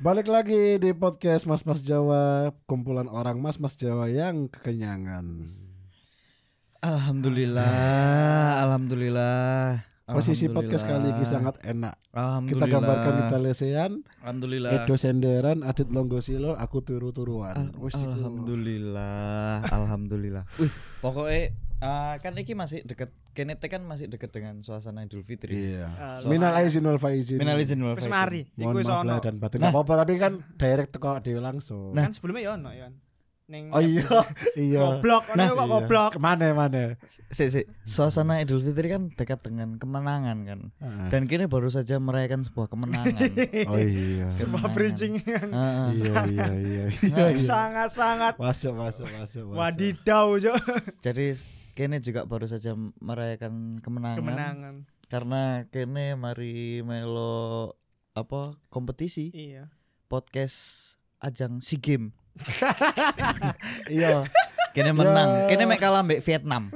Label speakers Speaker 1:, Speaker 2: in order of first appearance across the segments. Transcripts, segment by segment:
Speaker 1: Balik lagi di podcast Mas Mas Jawa, kumpulan orang Mas Mas Jawa yang kekenyangan.
Speaker 2: Alhamdulillah, alhamdulillah.
Speaker 1: Posisi
Speaker 2: Alhamdulillah.
Speaker 1: podcast kali ini sangat enak. Kita
Speaker 2: Alhamdulillah.
Speaker 1: gambarkan Eh, kita lesehan,
Speaker 3: Alhamdulillah.
Speaker 4: Ah.
Speaker 1: Edo Senderan, Adit Longgo Silor, aku turu-turuan. Wis iku.
Speaker 2: Alhamdulillah, alhamdulillah. Wih, pokoknya eh, kan iki masih deket kene teh kan masih deket dengan suasana Idul Fitri.
Speaker 1: Iya.
Speaker 4: Ah,
Speaker 1: Minal aizin wal faizin.
Speaker 2: Minal izin wal faizin.
Speaker 4: Wis mari, iku
Speaker 1: Mohon
Speaker 4: iso
Speaker 1: maaf
Speaker 4: ono. Nah.
Speaker 1: lah dan batin. Gak apa-apa tapi kan direct teko dhewe langsung.
Speaker 4: Kan sebelumnya ya ono ya. Ning
Speaker 1: Oh iya, iya.
Speaker 4: goblok, ono kok
Speaker 1: Iya.
Speaker 4: goblok.
Speaker 1: Kemana mana?
Speaker 2: Sik, sik. Suasana Idul Fitri kan dekat dengan kemenangan kan.
Speaker 1: Ah.
Speaker 2: Dan kini baru saja merayakan sebuah kemenangan.
Speaker 1: Oh iya.
Speaker 4: Sebuah
Speaker 2: Kemenangan.
Speaker 4: bridging yang
Speaker 2: Heeh.
Speaker 1: Iya iya iya.
Speaker 4: Nah,
Speaker 1: iya, iya.
Speaker 4: sangat-sangat
Speaker 1: Masuk masuk masuk. masuk.
Speaker 4: wadidau yo.
Speaker 2: Jadi kene juga baru saja merayakan kemenangan.
Speaker 4: Kemenangan.
Speaker 2: Karena kene mari melo apa kompetisi
Speaker 4: Iya.
Speaker 2: podcast ajang SEA Game.
Speaker 1: Iya.
Speaker 2: Kene menang, kene mek kalah mbek Vietnam.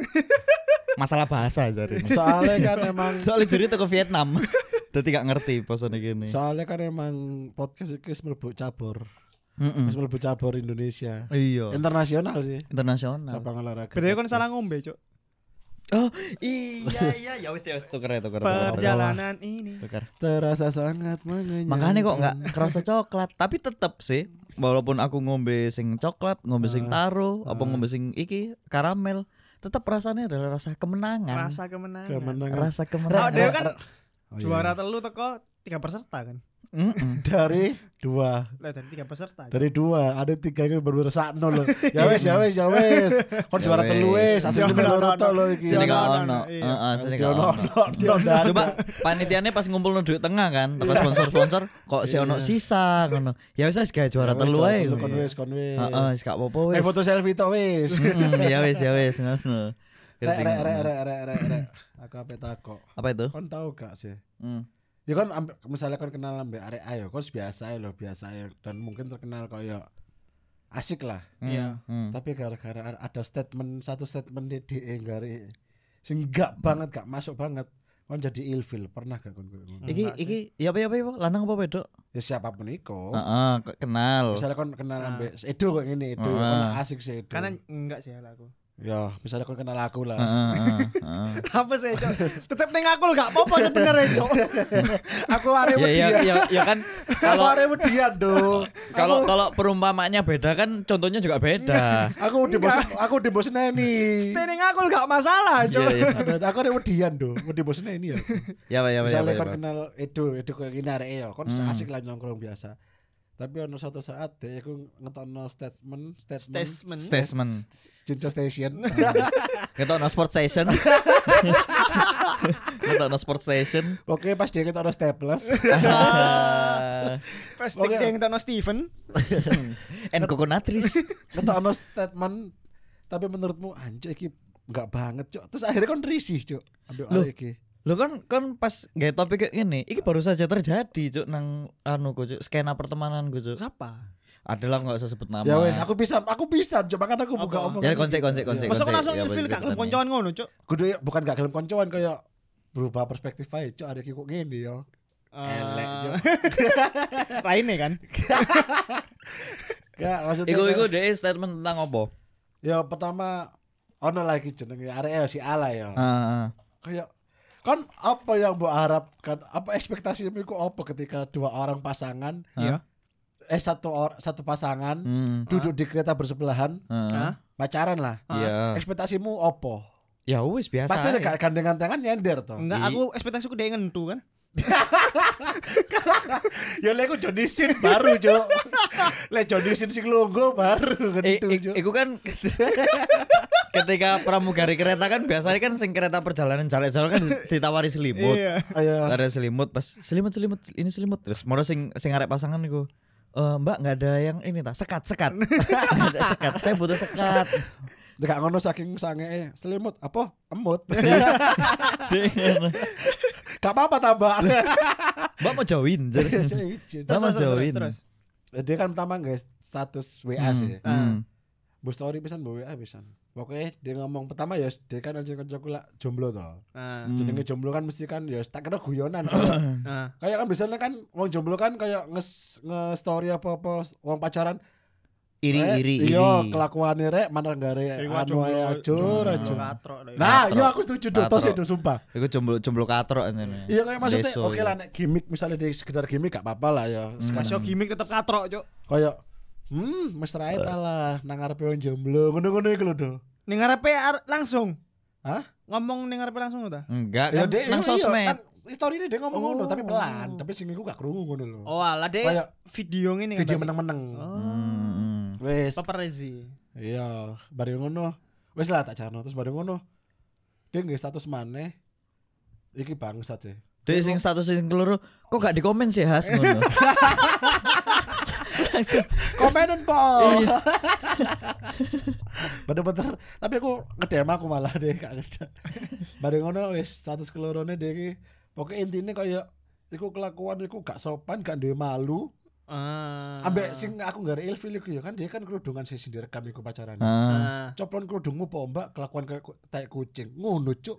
Speaker 2: Masalah bahasa jare.
Speaker 1: Soalnya kan emang
Speaker 2: Soalnya juri teko Vietnam. Dadi gak ngerti posone kene.
Speaker 1: soalnya kan emang podcast itu wis mlebu cabur.
Speaker 2: Mm-mm.
Speaker 1: Wis mlebu cabur Indonesia.
Speaker 2: Iya.
Speaker 1: Internasional sih.
Speaker 2: Internasional.
Speaker 1: Cabang olahraga.
Speaker 4: Berarti kan salah ngombe, Cuk.
Speaker 2: Oh, iya iya ya wis ya wis tuker ya, tuker. tuker, tuker.
Speaker 4: Perjalanan ini.
Speaker 2: Tuker.
Speaker 1: Terasa sangat mengenyang.
Speaker 2: Makanya kok nggak kerasa coklat, tapi tetep sih walaupun aku ngombe sing coklat, ngombe sing taro, apa ngombe sing iki karamel, tetap rasanya adalah rasa kemenangan, rasa,
Speaker 4: Rasa kemenangan.
Speaker 1: kemenangan iya.
Speaker 4: Oh,
Speaker 2: kemenangan.
Speaker 4: dia kan juara telu teko tiga peserta kan.
Speaker 2: Mm-mm.
Speaker 1: dari dua
Speaker 4: Lah dari tiga peserta.
Speaker 1: dari dua ada tiga yang baru sakno loh ya wes ya wes ya wes kon juara telu wes asli
Speaker 4: Jangan,
Speaker 1: bener loro
Speaker 4: jangan,
Speaker 1: tok lho iki
Speaker 2: Ya Sini gak
Speaker 4: ono,
Speaker 2: ono.
Speaker 4: iya.
Speaker 2: Heeh, sini gak
Speaker 1: Yo, no,
Speaker 2: ono.
Speaker 1: no, no, no.
Speaker 2: Coba panitiannya pas ngumpul duit tengah kan, teko sponsor-sponsor kok si ono sisa ngono. Ya wis wis gawe juara telu
Speaker 1: Juara
Speaker 2: ae.
Speaker 1: telu, kon wes kon wes
Speaker 2: Heeh, wis gak apa-apa
Speaker 1: eh
Speaker 2: wis.
Speaker 1: foto selfie tok wes
Speaker 2: Mm, Ya wis ya wis ngono.
Speaker 1: rek
Speaker 2: Ngerti
Speaker 1: rek
Speaker 2: ngono.
Speaker 1: rek rek rek rek rek aku ape takok
Speaker 2: Apa itu?
Speaker 1: kon tau gak sih
Speaker 2: Hmm.
Speaker 1: ya kan ampe- misalnya kon kenal ambek arek ayo kon biasa ya loh biasa ae. dan mungkin terkenal koyo asik lah
Speaker 2: Iya. Hmm.
Speaker 1: tapi gara-gara ada statement satu statement di E di enggari sing gak banget gak masuk banget kon jadi ilfil pernah gak kon koyo ngono?
Speaker 2: Iki iki ya apa ya apa ya, apa? lanang apa wedok?
Speaker 1: ya siapapun iku
Speaker 2: Heeh, kok kenal.
Speaker 1: misalnya kon kenal
Speaker 2: Nah.
Speaker 1: ambek Edo kok ngene Edo kon asik sih Edo
Speaker 4: Karena enggak sih lah aku.
Speaker 1: ya misalnya kon kenal aku lah
Speaker 2: Heeh, heeh, heeh.
Speaker 1: Ah.
Speaker 4: Apa sih, Cuk? Tetep ning aku lho gak apa-apa sebenarnya, Cuk.
Speaker 1: aku arek
Speaker 2: Ya ya
Speaker 1: wedi
Speaker 2: ya ya kan
Speaker 1: aku
Speaker 2: kalau
Speaker 1: arek wedi do
Speaker 2: kalau kalau perumpamanya beda kan contohnya juga beda.
Speaker 1: aku di bos aku di bos neni
Speaker 4: Stay ning aku lho gak masalah, Cuk.
Speaker 2: Iya iya.
Speaker 1: Ada- aku ada wedian do wedi bos neni ya
Speaker 2: Ya Pak, ya Pak, ya
Speaker 1: misalnya
Speaker 2: Pak, ya, Hmm.
Speaker 1: kan
Speaker 2: Pak.
Speaker 1: kenal Edo Edo kayak gini arek ya kon asik lah nongkrong biasa tapi ono suatu saat deh aku ngetokno statement statement
Speaker 4: Statement.
Speaker 2: Statement.
Speaker 1: Junjo Station
Speaker 2: Kita no sport station. Kita no sport station.
Speaker 1: oke pas dia ngetokno staples
Speaker 4: Pasti
Speaker 1: Oke. Iya,
Speaker 4: yang Tano Steven.
Speaker 2: And coconutris.
Speaker 1: ngetokno statement tapi menurutmu anjir iki nggak banget cok terus akhirnya kon risih cok ambil
Speaker 2: Loh.
Speaker 1: arek iki
Speaker 2: Lo kan kan pas gak topik kayak gini, ini baru saja terjadi cuk nang anu ku cuk skena pertemanan ku cuk.
Speaker 4: Siapa?
Speaker 2: Adalah nggak usah sebut nama.
Speaker 1: ya wes aku kan Iya. bisa aku bisa cok makanya aku buka omongan
Speaker 2: Jadi Ya, konsep konsep konsep.
Speaker 4: Masuk
Speaker 2: konsep.
Speaker 4: langsung
Speaker 2: Ya,
Speaker 4: ilfil
Speaker 2: boleh
Speaker 4: gak kelem
Speaker 2: ceritanya.
Speaker 4: koncoan ngono, Cuk.
Speaker 1: kudu ya- bukan gak gelem koncoan kayak berubah perspektif aja cok arek iki kok gini yo elek cok
Speaker 4: Raine Eh, kan.
Speaker 1: gak Ya, maksudnya
Speaker 2: Iku iku deh statement tentang apa?
Speaker 1: ya pertama ono lagi jenenge arek ya, si ala ya
Speaker 2: Ah, ah.
Speaker 1: kayak kan apa yang mbok harapkan apa ekspektasimu iku apa ketika dua orang pasangan
Speaker 2: Ah.
Speaker 4: Iya.
Speaker 1: eh satu or, satu pasangan
Speaker 2: Hmm.
Speaker 1: duduk di kereta bersebelahan
Speaker 4: Hah?
Speaker 1: pacaran lah
Speaker 2: Ah. Iya.
Speaker 1: ekspektasimu apa
Speaker 2: Ya Hmm. wis biasa.
Speaker 1: pasti
Speaker 2: aja.
Speaker 1: ada gandengan tangan nyender toh
Speaker 4: Enggak, aku ekspektasiku dia ngentu kan.
Speaker 1: ya lek aku Johnny Sin baru cok lek Johnny Sin sing lungguh baru
Speaker 2: Eh,
Speaker 1: gitu
Speaker 2: ik-
Speaker 1: cok
Speaker 2: iku kan ketika pramugari kereta kan biasanya kan sing kereta perjalanan jalan-jalan kan ditawari selimut.
Speaker 4: Iya.
Speaker 1: Ayo.
Speaker 2: Ada selimut pas selimut selimut ini selimut terus mau sing sing arek pasangan iku. "Eh, mbak nggak ada yang ini ta sekat sekat Nggak ada sekat saya butuh sekat
Speaker 1: Dekat ngono saking sange eh, selimut apa emut gak apa-apa tambahan
Speaker 2: mbak mau join jadi
Speaker 1: Iya, Seizin.
Speaker 2: mbak mau join
Speaker 1: dia kan pertama guys status WA sih.
Speaker 4: Ah.
Speaker 2: Hmm.
Speaker 1: Bu story pisan bu WA pisan. pokoknya dia ngomong pertama ya dia kan anjir kancaku lah jomblo toh
Speaker 4: Nah,
Speaker 2: Hmm.
Speaker 1: jenenge jomblo kan mesti kan ya tak kira guyonan
Speaker 4: nah.
Speaker 2: Ah.
Speaker 1: kayak kan biasanya kan wong jomblo kan kayak nges nge story apa apa wong pacaran
Speaker 2: iri
Speaker 1: eh,
Speaker 2: iri iri
Speaker 1: iya kelakuannya rek mana nggak rek
Speaker 4: Iku
Speaker 1: anu
Speaker 4: jomblo-
Speaker 1: ae, ajur ajur
Speaker 4: Katrok deh.
Speaker 1: nah
Speaker 2: Katrok.
Speaker 1: iya aku setuju tuh tos
Speaker 2: Katrok.
Speaker 1: itu sumpah
Speaker 2: Iku jomblo jomblo katrok anjene.
Speaker 1: iya kayak maksudnya
Speaker 2: Deso,
Speaker 1: oke lah nek gimmick misalnya dari sekedar gimmick gak apa-apa lah
Speaker 2: Hmm.
Speaker 1: ya Sekarang
Speaker 4: Masih gimmick tetap katrok, Cuk.
Speaker 1: kayak hmm Mr. Ait lah nang arepe wong jomblo ngono-ngono iku lho do
Speaker 4: Ning ngarepe ar- langsung.
Speaker 1: Hah?
Speaker 4: Ngomong ning ngarepe langsung ta?
Speaker 2: Enggak
Speaker 1: Ya
Speaker 2: kan
Speaker 1: dia
Speaker 2: nang sosmed. Oh.
Speaker 1: story ini dia ngomong ngono tapi pelan, tapi sing iku gak krungu ngono lho.
Speaker 4: Oh, ala deh
Speaker 1: Kayak
Speaker 4: video ngene
Speaker 1: Video meneng-meneng.
Speaker 2: Hmm.
Speaker 1: Wes.
Speaker 4: Paparazzi.
Speaker 1: Iya, bareng ngono. Wes lah tak jarno terus bareng ngono. Dia nggih status maneh. Iki bangsat sih.
Speaker 2: Dek sing status sing keloro kok gak dikomen sih Has ngono. Langsung
Speaker 1: Komenan
Speaker 4: Iya,
Speaker 1: po. Bener-bener. Tapi aku ngedem aku malah deh gak ngedem. Bareng ngono wes status kelorone dia iki pokoke intine kaya iku kelakuan iku gak sopan, gak duwe malu.
Speaker 4: Ah.
Speaker 1: Ambek sing aku gak ada ilfil iku ya kan dia kan kerudungan sih sendiri direkam iku pacaran.
Speaker 4: Ah.
Speaker 1: Coplon kerudungmu po mbak kelakuan kayak ku- tai kucing. Ngono cuk.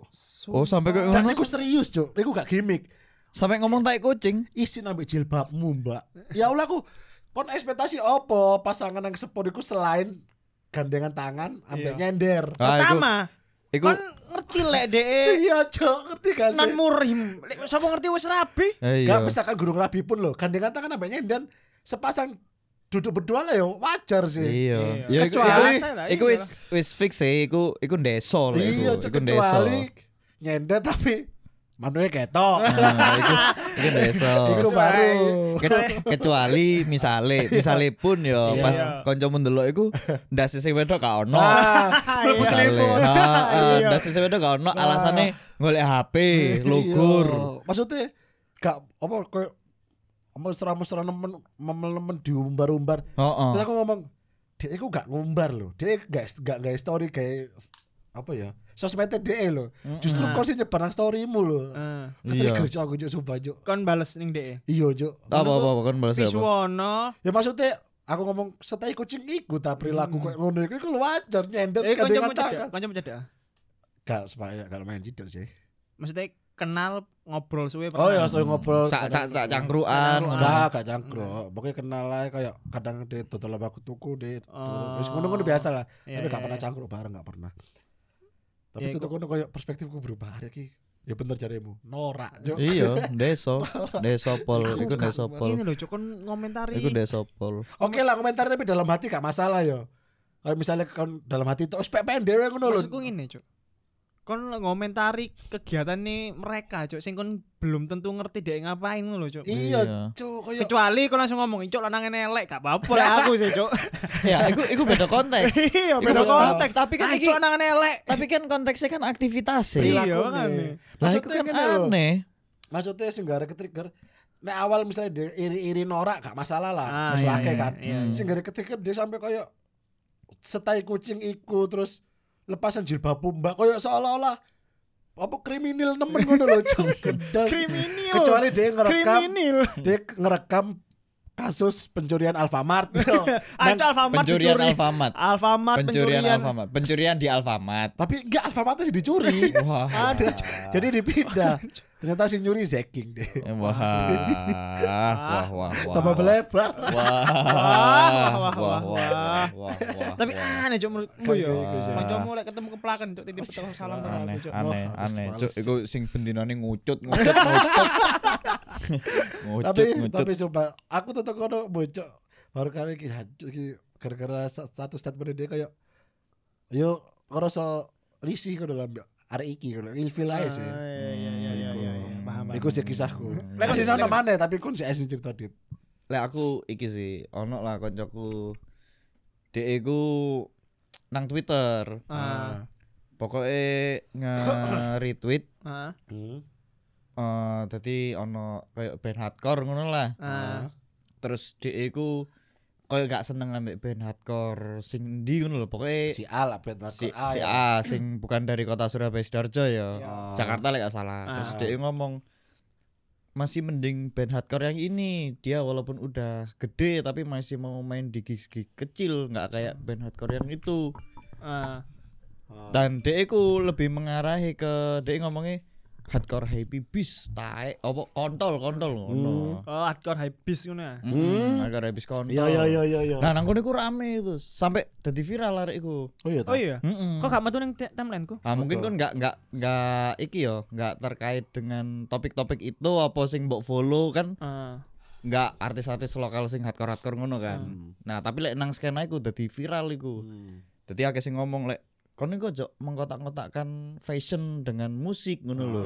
Speaker 2: Oh sampai kok
Speaker 1: Dan
Speaker 2: ngono.
Speaker 1: iku serius cuk. Iku gak gimmick.
Speaker 2: Sampai ngomong tai kucing.
Speaker 1: Isin ambek jilbabmu mbak. Ya Allah aku kon ekspektasi opo pasangan yang sepur iku selain gandengan tangan ambek nyender.
Speaker 2: Ah, iku-
Speaker 4: Pertama,
Speaker 2: Iku
Speaker 4: kon ngerti lek deh
Speaker 2: Eh.
Speaker 1: Iya cuk, ngerti gak sih?
Speaker 4: nan murim. Lek sapa ngerti wis rabi.
Speaker 2: Eh,
Speaker 1: Gak
Speaker 2: iya.
Speaker 1: misalkan gurung rabi pun loh. Gandengan tangan ambek nyender sepasang duduk berdua lah yo wajar sih.
Speaker 2: Iya.
Speaker 1: Iya.
Speaker 2: iku-
Speaker 1: Kecuali-
Speaker 2: iku- iku wis wis fix sih iku iku ndeso lho iku.
Speaker 1: Iya, cuk,
Speaker 2: Iku ndeso.
Speaker 1: kecuali nyender tapi manuke ketok.
Speaker 2: Ah, iku iku ndeso.
Speaker 1: Iku baru.
Speaker 2: Ke- kecuali misale, misale pun yo pas kancamu ndelok iku ndase sing wedok gak ono.
Speaker 1: Ah, mlebu selimut.
Speaker 2: Nah, Iya. Ndase sing wedok eh, gak ono alasane golek HP, lugur.
Speaker 1: Iya. Maksudnya gak apa kayak mesra-mesra nemen nemen nemen diumbar-umbar.
Speaker 2: Heeh.
Speaker 1: Terus aku ngomong, dia itu gak ngumbar loh. Dia gak gak gak story kayak apa ya? Sosmednya dia loh. Justru kau sih nyebar nang storymu loh.
Speaker 2: Iya.
Speaker 4: Heeh.
Speaker 1: Ketika kerja aku juk sumpah juk.
Speaker 4: Ah. Kon bales ning deh
Speaker 1: Iya juk.
Speaker 2: Apa apa apa kan balas apa?
Speaker 4: Pisuwono.
Speaker 1: Ya maksudnya aku ngomong setai kucing ikut ta
Speaker 2: Mm.
Speaker 1: perilaku kayak ngono iku iku lu wajar nyender
Speaker 4: Eh
Speaker 1: kadang
Speaker 4: kancamu cedak,
Speaker 2: ya?
Speaker 1: katakan.
Speaker 4: kancamu cedak.
Speaker 1: Gak sepaya gak main jidat sih.
Speaker 4: Maksudnya kenal ngobrol suwe
Speaker 1: Oh ya,
Speaker 4: pernah.
Speaker 1: saya ngobrol.
Speaker 2: Sak sak sak cangkruan.
Speaker 1: Enggak, gak cangkruk. Pokoknya kenal aja kayak kadang di total aku tuku di
Speaker 4: Oh.
Speaker 1: wis ngono-ngono biasa lah.
Speaker 4: Iya,
Speaker 1: Tapi
Speaker 4: iya,
Speaker 1: gak pernah
Speaker 4: iya.
Speaker 1: cangkruk bareng gak pernah. Tapi
Speaker 4: Iya,
Speaker 1: tutup kono kayak perspektifku berubah hari iki. Ya bener jarimu, norak. Jok.
Speaker 2: Iya, deso, deso pol, iku deso pol.
Speaker 4: Ini loh, cuk kon ngomentari.
Speaker 2: Iku deso pol.
Speaker 1: Oke lah komentar tapi dalam hati gak masalah yo. Kalau misalnya kan dalam hati itu SPPN dewe ngono lho.
Speaker 4: Maksudku ngene, Cuk. Kon lo ngomentari kegiatan nih mereka, Cuk. Sing kon belum tentu ngerti dek ngapain lho, Cuk.
Speaker 1: Iya, cuk kayak
Speaker 4: Kecuali kon langsung ngomong, "Cuk, lanang elek, gak apa-apa lah aku sih, Cuk."
Speaker 2: Ya, iku iku beda konteks.
Speaker 4: Iya,
Speaker 2: Iku beda
Speaker 4: beda konteks.
Speaker 2: konteks. Tapi kan
Speaker 4: Ah,
Speaker 2: iki-
Speaker 4: Cuk lanang elek.
Speaker 2: Tapi kan konteksnya kan aktivitas
Speaker 4: Iya,
Speaker 2: sih.
Speaker 4: kan.
Speaker 2: Lah iku kan aneh.
Speaker 1: maksudnya sing gara ketrigger Nek awal misalnya dia iri-iri norak gak masalah lah,
Speaker 4: Ah,
Speaker 1: masuk
Speaker 4: iya,
Speaker 1: akeh
Speaker 4: iya,
Speaker 1: kan.
Speaker 4: iya,
Speaker 1: Sing gara ketrigger dia sampai koyo setai kucing iku terus lepasan jilbab mbak koyo seolah-olah apa kriminal nemen ngono lho Cuk. Gedeng.
Speaker 4: Kriminal.
Speaker 1: Kecuali dia ngerekam
Speaker 4: Kriminal.
Speaker 1: dia ngerekam kasus pencurian Alfamart.
Speaker 4: Ah,
Speaker 1: Nang-
Speaker 4: Cuk, Alfamart
Speaker 2: Pencurian
Speaker 4: dicuri.
Speaker 2: Alfamart.
Speaker 4: Alfamart
Speaker 2: Pencurian Alfamart, pencurian di Alfamart.
Speaker 1: tapi enggak Alfamartnya sih dicuri.
Speaker 2: Wah.
Speaker 1: Ada. Jadi dipindah. Ternyata si nyuri zeking deh.
Speaker 2: Wah, wah, wah, wah.
Speaker 1: Tambah melebar.
Speaker 2: Wah,
Speaker 4: Wah,
Speaker 2: wah,
Speaker 4: wah,
Speaker 2: wah, wah, wah.
Speaker 4: Tapi aneh, Cuk, menurutku ya.
Speaker 1: Iku sih.
Speaker 4: Kancamu lek ketemu keplakan, Cuk, titip pesan salam karo
Speaker 2: aneh,
Speaker 4: aku, Cuk.
Speaker 2: aneh,
Speaker 1: harus
Speaker 2: aneh.
Speaker 1: males,
Speaker 2: Cuk,
Speaker 1: Cuk.
Speaker 2: iku sing bendinane ngucut, ngucut, ngucut. Ngucut,
Speaker 1: tapi
Speaker 2: ngucut.
Speaker 1: tapi coba aku tetep kono bocok baru kali iki hancur iki gara-gara sa- satu statement dia kayak yo ngerasa risih kono lah Mbak. arek iki kono ilfil ae sih
Speaker 4: Iya, iya, iya, iya, iya, iya. Paham.
Speaker 1: Iku sih kisahku.
Speaker 4: Lek-
Speaker 1: Masih nang mana tapi kon sih asli cerita dit.
Speaker 2: Lek aku iki sih, ono lah koncoku. Dek iku nang Twitter.
Speaker 4: Ah.
Speaker 2: Pokoke nge-retweet
Speaker 4: Ah.
Speaker 2: eh dadi ono kayak band hardcore ngono lah.
Speaker 4: Ah.
Speaker 2: Terus dek iku kayak gak seneng ambek band hardcore sing ndi ngono lho pokoke
Speaker 1: Si A lah bet si
Speaker 2: si, si
Speaker 1: A. ya.
Speaker 2: A sing bukan dari kota Surabaya Sidoarjo ya. Jakarta lek gak salah. Terus dia ngomong masih mending band hardcore yang ini. Dia walaupun udah gede tapi masih mau main di gigs-gigs kecil, nggak kayak band hardcore yang itu.
Speaker 4: Ah.
Speaker 2: Dan dhek iku lebih mengarahi ke dhek ngomongnya hardcore happy beast, taek apa kontol kontol ngono.
Speaker 4: Oh, hardcore high beast ngono ya.
Speaker 2: Hmm, hardcore happy beast kontol.
Speaker 1: Iya iya iya iya. iya.
Speaker 2: Nah, nang kono iku rame itu, sampai dadi viral arek iku.
Speaker 1: Oh iya. toh.
Speaker 4: Oh
Speaker 2: Hmm,
Speaker 4: iya. Kok gak metu ning timeline-ku?
Speaker 2: Ah, mungkin kan nggak nggak nggak iki yo nggak terkait dengan topik-topik itu apa sing mbok follow kan
Speaker 4: Heeh.
Speaker 2: nggak artis-artis lokal sing hardcore hardcore ngono kan nah tapi lek nang skena iku dadi viral iku dadi akeh sing ngomong lek kon iku ojo mengkotak-kotakkan fashion dengan musik ngono lho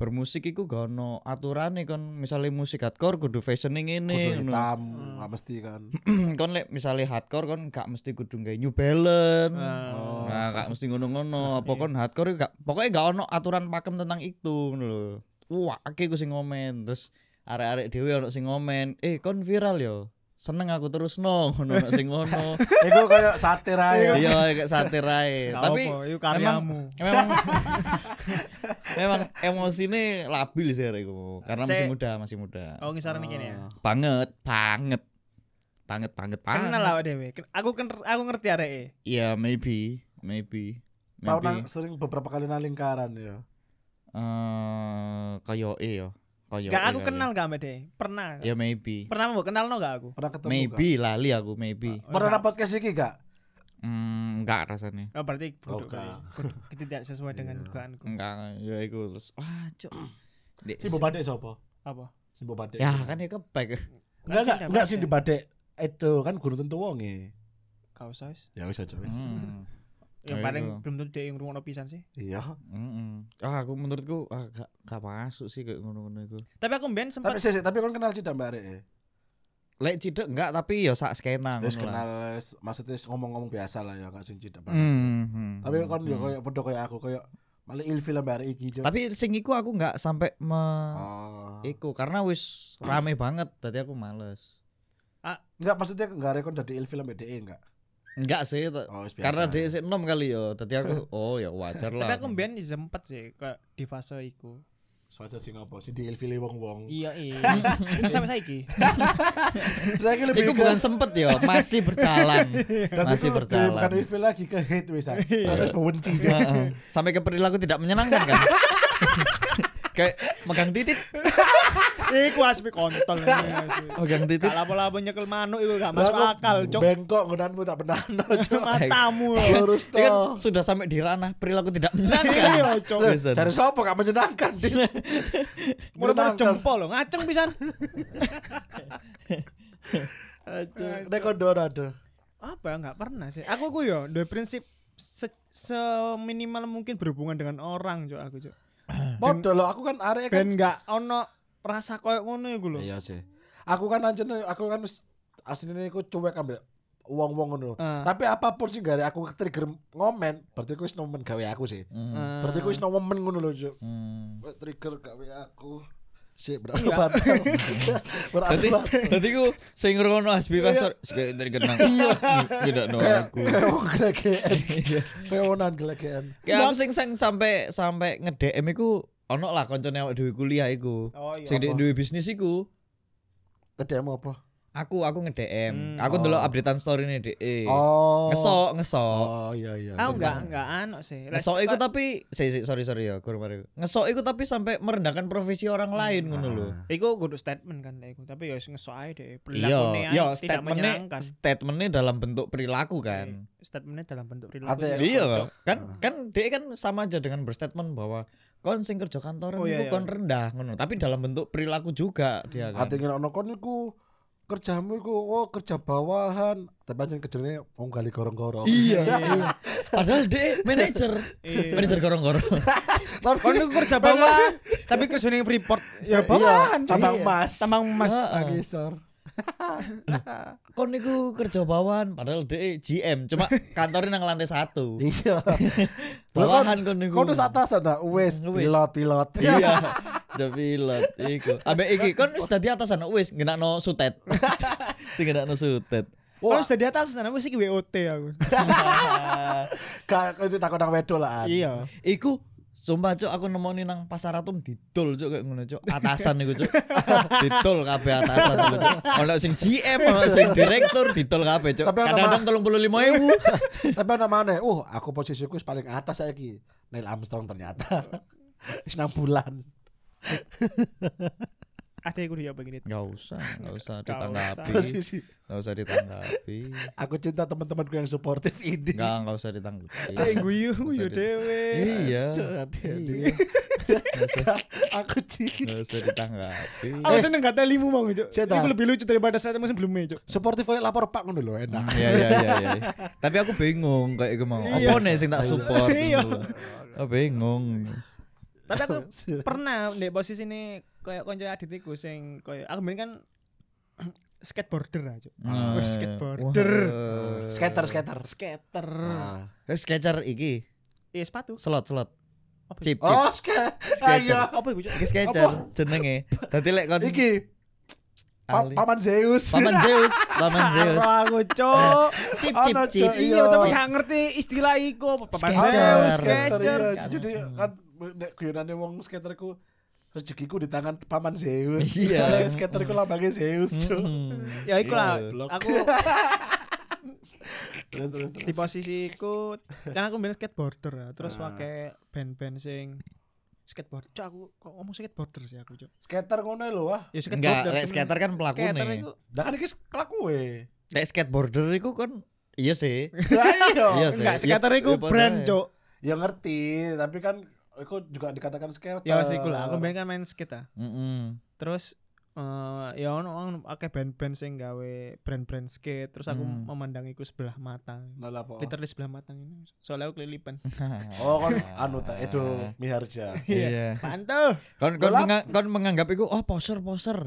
Speaker 2: bermusik iku gak ono aturane kon misalnya musik hardcore kudu fashioning ini ngono
Speaker 1: Hitam nggak mesti kan.
Speaker 2: kon lek misalnya hardcore kon gak mesti kudu nggae New Balance.
Speaker 4: Ah.
Speaker 2: Nah, gak mesti ngono-ngono.
Speaker 4: Iya.
Speaker 2: Apa kon hardcore gak pokoknya gak ono aturan pakem tentang itu ngono lho. Wah, akeh ku sing ngomen. Terus arek-arek dhewe ono sing ngomen, "Eh, kon viral yo." Seneng aku terus no ngono ono sing ngono.
Speaker 1: Iku kayak satir kan. aja.
Speaker 2: Iya, kayak satir ae.
Speaker 4: Gak
Speaker 2: Tapi
Speaker 4: apa, itu karyamu.
Speaker 2: memang memang memang emosine labil sih arek iku. Karena masih
Speaker 4: Se-
Speaker 2: muda, masih muda.
Speaker 4: Oh, ngisarane kene ya.
Speaker 2: Banget, banget. Banget, banget, banget.
Speaker 4: Kenal awake dhewe. Ken- Aku ken- aku ngerti areke.
Speaker 2: Iya, maybe, maybe,
Speaker 1: Tahu
Speaker 2: Iya, maybe.
Speaker 1: nang sering beberapa kali nang lingkaran ya.
Speaker 2: Eh, kayo e yo, iya. kayo.
Speaker 4: Gak aku kenal gak ambek dhewe. Pernah.
Speaker 2: Ya maybe,
Speaker 4: Pernah mbok kenalno gak aku?
Speaker 1: Pernah ketemu gak?
Speaker 2: maybe lali aku maybe.
Speaker 1: Pernah nang podcast iki gak? Ah.
Speaker 2: Hmm, enggak rasanya.
Speaker 4: Oh, berarti
Speaker 1: Oh,
Speaker 4: kudu kali.
Speaker 1: gak.
Speaker 4: Kudu- Itu tidak sesuai dengan dugaanku.
Speaker 2: Enggak, ya iku terus. Wah, cuk. Dek,
Speaker 1: Si Bobadek sapa?
Speaker 4: Apa?
Speaker 1: Si Bobadek.
Speaker 2: ya kan ya kepek.
Speaker 1: Enggak enggak
Speaker 4: Sindabadek.
Speaker 1: enggak si Badek. Itu kan guru tentu wonge.
Speaker 4: Kau sos.
Speaker 1: Ya wis aja wis.
Speaker 2: Hmm.
Speaker 4: Yang
Speaker 2: Ya,
Speaker 4: paling
Speaker 2: iya.
Speaker 4: belum tentu dhewe ngrungokno pisan sih.
Speaker 1: Iya.
Speaker 2: Mm-mm. Ah, aku menurutku ah, gak, gak masuk sih kayak ngono-ngono iku.
Speaker 4: Tapi aku mbien
Speaker 1: Tapi
Speaker 4: sempat
Speaker 1: sih, sih, tapi kon kenal Cida Mbak e. Rek.
Speaker 2: Lek cidek enggak tapi ya sak skena
Speaker 1: Terus
Speaker 2: ngono lah.
Speaker 1: kenal s- maksudnya s- ngomong-ngomong biasa lah ya enggak sing Cida Mbak.
Speaker 2: Hmm.
Speaker 1: Tapi kon yo koyo podo koyo aku koyo malah ilfil Mbak Rek iki. Jo.
Speaker 2: Tapi sing iku aku enggak sampai me
Speaker 1: Oh.
Speaker 2: iku karena wis rame banget tadi aku males
Speaker 4: ah,
Speaker 1: Enggak maksudnya enggak rekon jadi ilfil Mbak DE e enggak.
Speaker 2: enggak sih t-
Speaker 1: Oh, wis biasa.
Speaker 2: karena dia sih enam kali yo tadi aku oh ya wajar
Speaker 4: tapi
Speaker 2: lah
Speaker 4: aku mbien sempat sih kayak di fase iku.
Speaker 1: Soalnya sing apa sih diilfili wong-wong.
Speaker 4: Iya, iya. Kan sampai saiki.
Speaker 1: Saya kira
Speaker 2: Iku
Speaker 1: lebih
Speaker 2: bukan
Speaker 1: ke
Speaker 2: sempet yo, masih berjalan,
Speaker 1: dan
Speaker 2: masih
Speaker 1: itu lebih bukan
Speaker 2: berjalan. Iya.
Speaker 1: ilfil lagi ke hate wis. Terus membenci Jo.
Speaker 2: Heeh. Sampai ke perilaku tidak menyenangkan kan? Kayak megang titik,
Speaker 4: Iku asmi kontol. asmi.
Speaker 2: megang titik.
Speaker 4: Gak lapo-lapo nyekel manuk itu gak
Speaker 1: Lah,
Speaker 4: masuk
Speaker 1: kok
Speaker 4: akal, cok.
Speaker 1: Bengkok gunanmu tak benar Cok.
Speaker 4: Matamu.
Speaker 1: Lurus
Speaker 2: Ini kan
Speaker 1: toh.
Speaker 2: sudah sampai di ranah perilaku tidak menyenangkan.
Speaker 4: Iya, Cok.
Speaker 2: Biasa.
Speaker 1: Cari sopo gak menyenangkan Di.
Speaker 4: Mulai
Speaker 1: Menyenangkan.
Speaker 4: jempol lo, ngaceng pisan.
Speaker 1: Aduh, Nek kondor aduh.
Speaker 4: Apa nggak pernah sih. Aku ku yo duwe prinsip se seminimal mungkin berhubungan dengan orang, cok aku, cok.
Speaker 1: Podo lo aku kan arek kan.
Speaker 4: Ben nggak ono rasa koyo ngono iku lho.
Speaker 1: Iya sih. Aku kan anjen aku kan wis- aslinya aku cuek ambek wong-wong ngono. Tapi apapun sih gak ada aku trigger ngomen, berarti aku wis nomen gawe aku sih. Berarti aku wis nomen ngono lho, Cuk. Hmm. Trigger gawe aku. Sik berapa batang? berarti
Speaker 2: Tadi, tadi ku saya ngerungono Hasbi
Speaker 4: Iya.
Speaker 2: Pastor, sebagai dari kenang. Tidak no aku.
Speaker 1: kayak wong gelegean. Kayak wonan gelegean.
Speaker 2: Kayak aku sing sing sampai sampai ngedm iku ono lah koncone awak dhewe kuliah iku.
Speaker 4: Oh, iya.
Speaker 2: Sing dek duwe bisnis iku.
Speaker 1: Kedemu apa?
Speaker 2: Aku aku ngedm. aku dulu updatean story nih dek.
Speaker 1: Oh.
Speaker 2: Ngesok ngesok.
Speaker 1: Oh iya iya.
Speaker 4: Aku nggak nggak ano sih. Lah,
Speaker 2: Ngesok iku tapi si, si, sorry sorry ya, kurang mari. Ngesok iku tapi sampai merendahkan profesi orang lain ngono lho.
Speaker 4: Iku kudu statement kan lah iku, tapi ya wis ngesok ae deh.
Speaker 2: Iya,
Speaker 4: Perilakunya
Speaker 2: iya
Speaker 4: tidak
Speaker 2: statementnya
Speaker 4: menyenangkan. Iya.
Speaker 2: statementnya dalam bentuk perilaku kan.
Speaker 4: Statementnya dalam bentuk
Speaker 1: Ate-
Speaker 4: perilaku.
Speaker 2: Iya, kan kan dia kan sama aja dengan berstatement bahwa kon sing kerja kantoran iku kon rendah ngono, tapi dalam bentuk perilaku juga dia kan.
Speaker 1: Ati ngene ono kon iku kerjamu iku oh kerja bawahan, tapi anjing kerjane wong gali gorong-gorong.
Speaker 2: Iya. Padahal dia manajer. manajer gorong-gorong.
Speaker 1: tapi
Speaker 4: Kon iku kerja bawahan, tapi kerjane yang Freeport. Ya
Speaker 1: iya,
Speaker 4: bawahan.
Speaker 1: tambang emas.
Speaker 4: Tambang emas.
Speaker 1: lagi sor.
Speaker 2: Kon niku kerja bawahan padahal dia GM, cuma kantornya nang lantai satu.
Speaker 1: Iya.
Speaker 2: Bawahan kon niku.
Speaker 1: Kon wis atasan ta wis
Speaker 2: Wis.
Speaker 1: pilot pilot.
Speaker 2: Iya. Jepilot iku. Ambek iki kon wis dadi atasan wis ngenakno sutet. Sing ngenakno sutet.
Speaker 4: Wah, sudah di atas nah, sana aku sih WOT aku.
Speaker 1: Gak kudu takon nang wedo lah.
Speaker 4: Iya.
Speaker 2: Iku Sumpah cuk aku nemoni nang pasar atom didol cuk kayak ngono cuk. Atasan niku cuk. didol kabeh atasan niku cuk. Ono sing GM, ono sing direktur didol kabeh cuk.
Speaker 1: Tapi ono
Speaker 2: Kadang-kadang 35.000.
Speaker 1: Tapi ana mana? Uh, aku posisiku wis paling atas saiki. Neil Armstrong ternyata. Wis 6 bulan.
Speaker 4: Ada yang kudu ya begini.
Speaker 2: Enggak usah, enggak usah
Speaker 4: Nggak
Speaker 2: ditanggapi.
Speaker 1: Posisi.
Speaker 2: Enggak usah ditanggapi.
Speaker 1: Aku cinta teman-temanku yang suportif ini.
Speaker 2: Enggak, enggak usah ditanggapi.
Speaker 4: Kayak guyu ya, guyu dewe.
Speaker 2: Iya.
Speaker 1: Cuk, hati-hati.
Speaker 2: Iya.
Speaker 1: aku cinta.
Speaker 2: Enggak usah ditanggapi.
Speaker 4: Aku seneng gak telimu mau cok.
Speaker 1: Cek,
Speaker 4: Iku
Speaker 1: tak.
Speaker 4: lebih lucu daripada saat emang sebelumnya cok.
Speaker 1: Suportif oleh lapor Pak ngono lho enak.
Speaker 2: Ya ya ya ya. Tapi aku bingung kayak iku mau. Apa nih sing tak support?
Speaker 4: Iya.
Speaker 2: Aku bingung.
Speaker 4: Tapi aku pernah di posisi ini kayak konco aditiku sing kayak aku mending kan skateboarder aja.
Speaker 2: Ah.
Speaker 4: Wah, skateboarder.
Speaker 2: Eh,
Speaker 1: Skater skater.
Speaker 4: Skater.
Speaker 1: Ah.
Speaker 2: Eh, sketcher iki
Speaker 4: Iya sepatu.
Speaker 2: slot slot.
Speaker 4: Apa?
Speaker 2: Chip chip.
Speaker 1: Oh, skater.
Speaker 2: Skater.
Speaker 1: Ayo.
Speaker 4: Apa iku cok?
Speaker 2: Iki sketcher jenenge. Dadi lek kon
Speaker 1: Iki pa-
Speaker 2: Ali.
Speaker 1: paman Zeus. Oh,
Speaker 2: Paman Zeus, Paman Zeus.
Speaker 4: Karo aku cok.
Speaker 2: Chip
Speaker 1: Ono,
Speaker 2: chip chip.
Speaker 1: Cok,
Speaker 4: Iya, tapi
Speaker 1: Iya.
Speaker 4: gak ngerti istilah iku apa papan
Speaker 2: Skater.
Speaker 4: Zeus,
Speaker 1: Skater,
Speaker 4: skater.
Speaker 1: iya. Jadi kan nek guyonane wong skaterku rezekiku di tangan paman Zeus.
Speaker 2: Iya.
Speaker 1: Soalnya skaterku lambangnya Zeus, Cuk.
Speaker 4: Ya iku lah.
Speaker 1: Blok.
Speaker 4: Aku
Speaker 1: Terus terus terus.
Speaker 4: di posisiku kan aku main skateboarder ya, terus pakai band-band sing skateboard cok aku kok ngomong skateboarder sih aku cok
Speaker 1: Skater ngono lho wah.
Speaker 4: ya
Speaker 2: Enggak, lek
Speaker 4: seneng.
Speaker 2: skater kan pelakune.
Speaker 4: Skater iku
Speaker 1: Lah kan iki kelakuwe.
Speaker 2: Lek skateboarder iku kon iya sih.
Speaker 1: Lah iya.
Speaker 2: Iya sih.
Speaker 4: enggak skater
Speaker 2: Iya,
Speaker 4: iku
Speaker 2: iya,
Speaker 4: brand
Speaker 2: padahal.
Speaker 4: cok
Speaker 1: Ya ngerti, tapi kan aku juga dikatakan skater.
Speaker 4: ya sih lah
Speaker 1: Eh.
Speaker 4: aku main kan main skate ah.
Speaker 2: Mm-mm.
Speaker 4: terus eh, ya ono ono akeh band-band sing gawe brand-brand skate terus aku memandang iku sebelah mata
Speaker 1: Nah, lah, po.
Speaker 4: literally sebelah mata ini soalnya aku kelilipan
Speaker 1: Oh kan anu ta itu Miharja.
Speaker 2: Iya.
Speaker 4: pantu
Speaker 2: Kon kon menga- kon menganggap iku oh poser poser.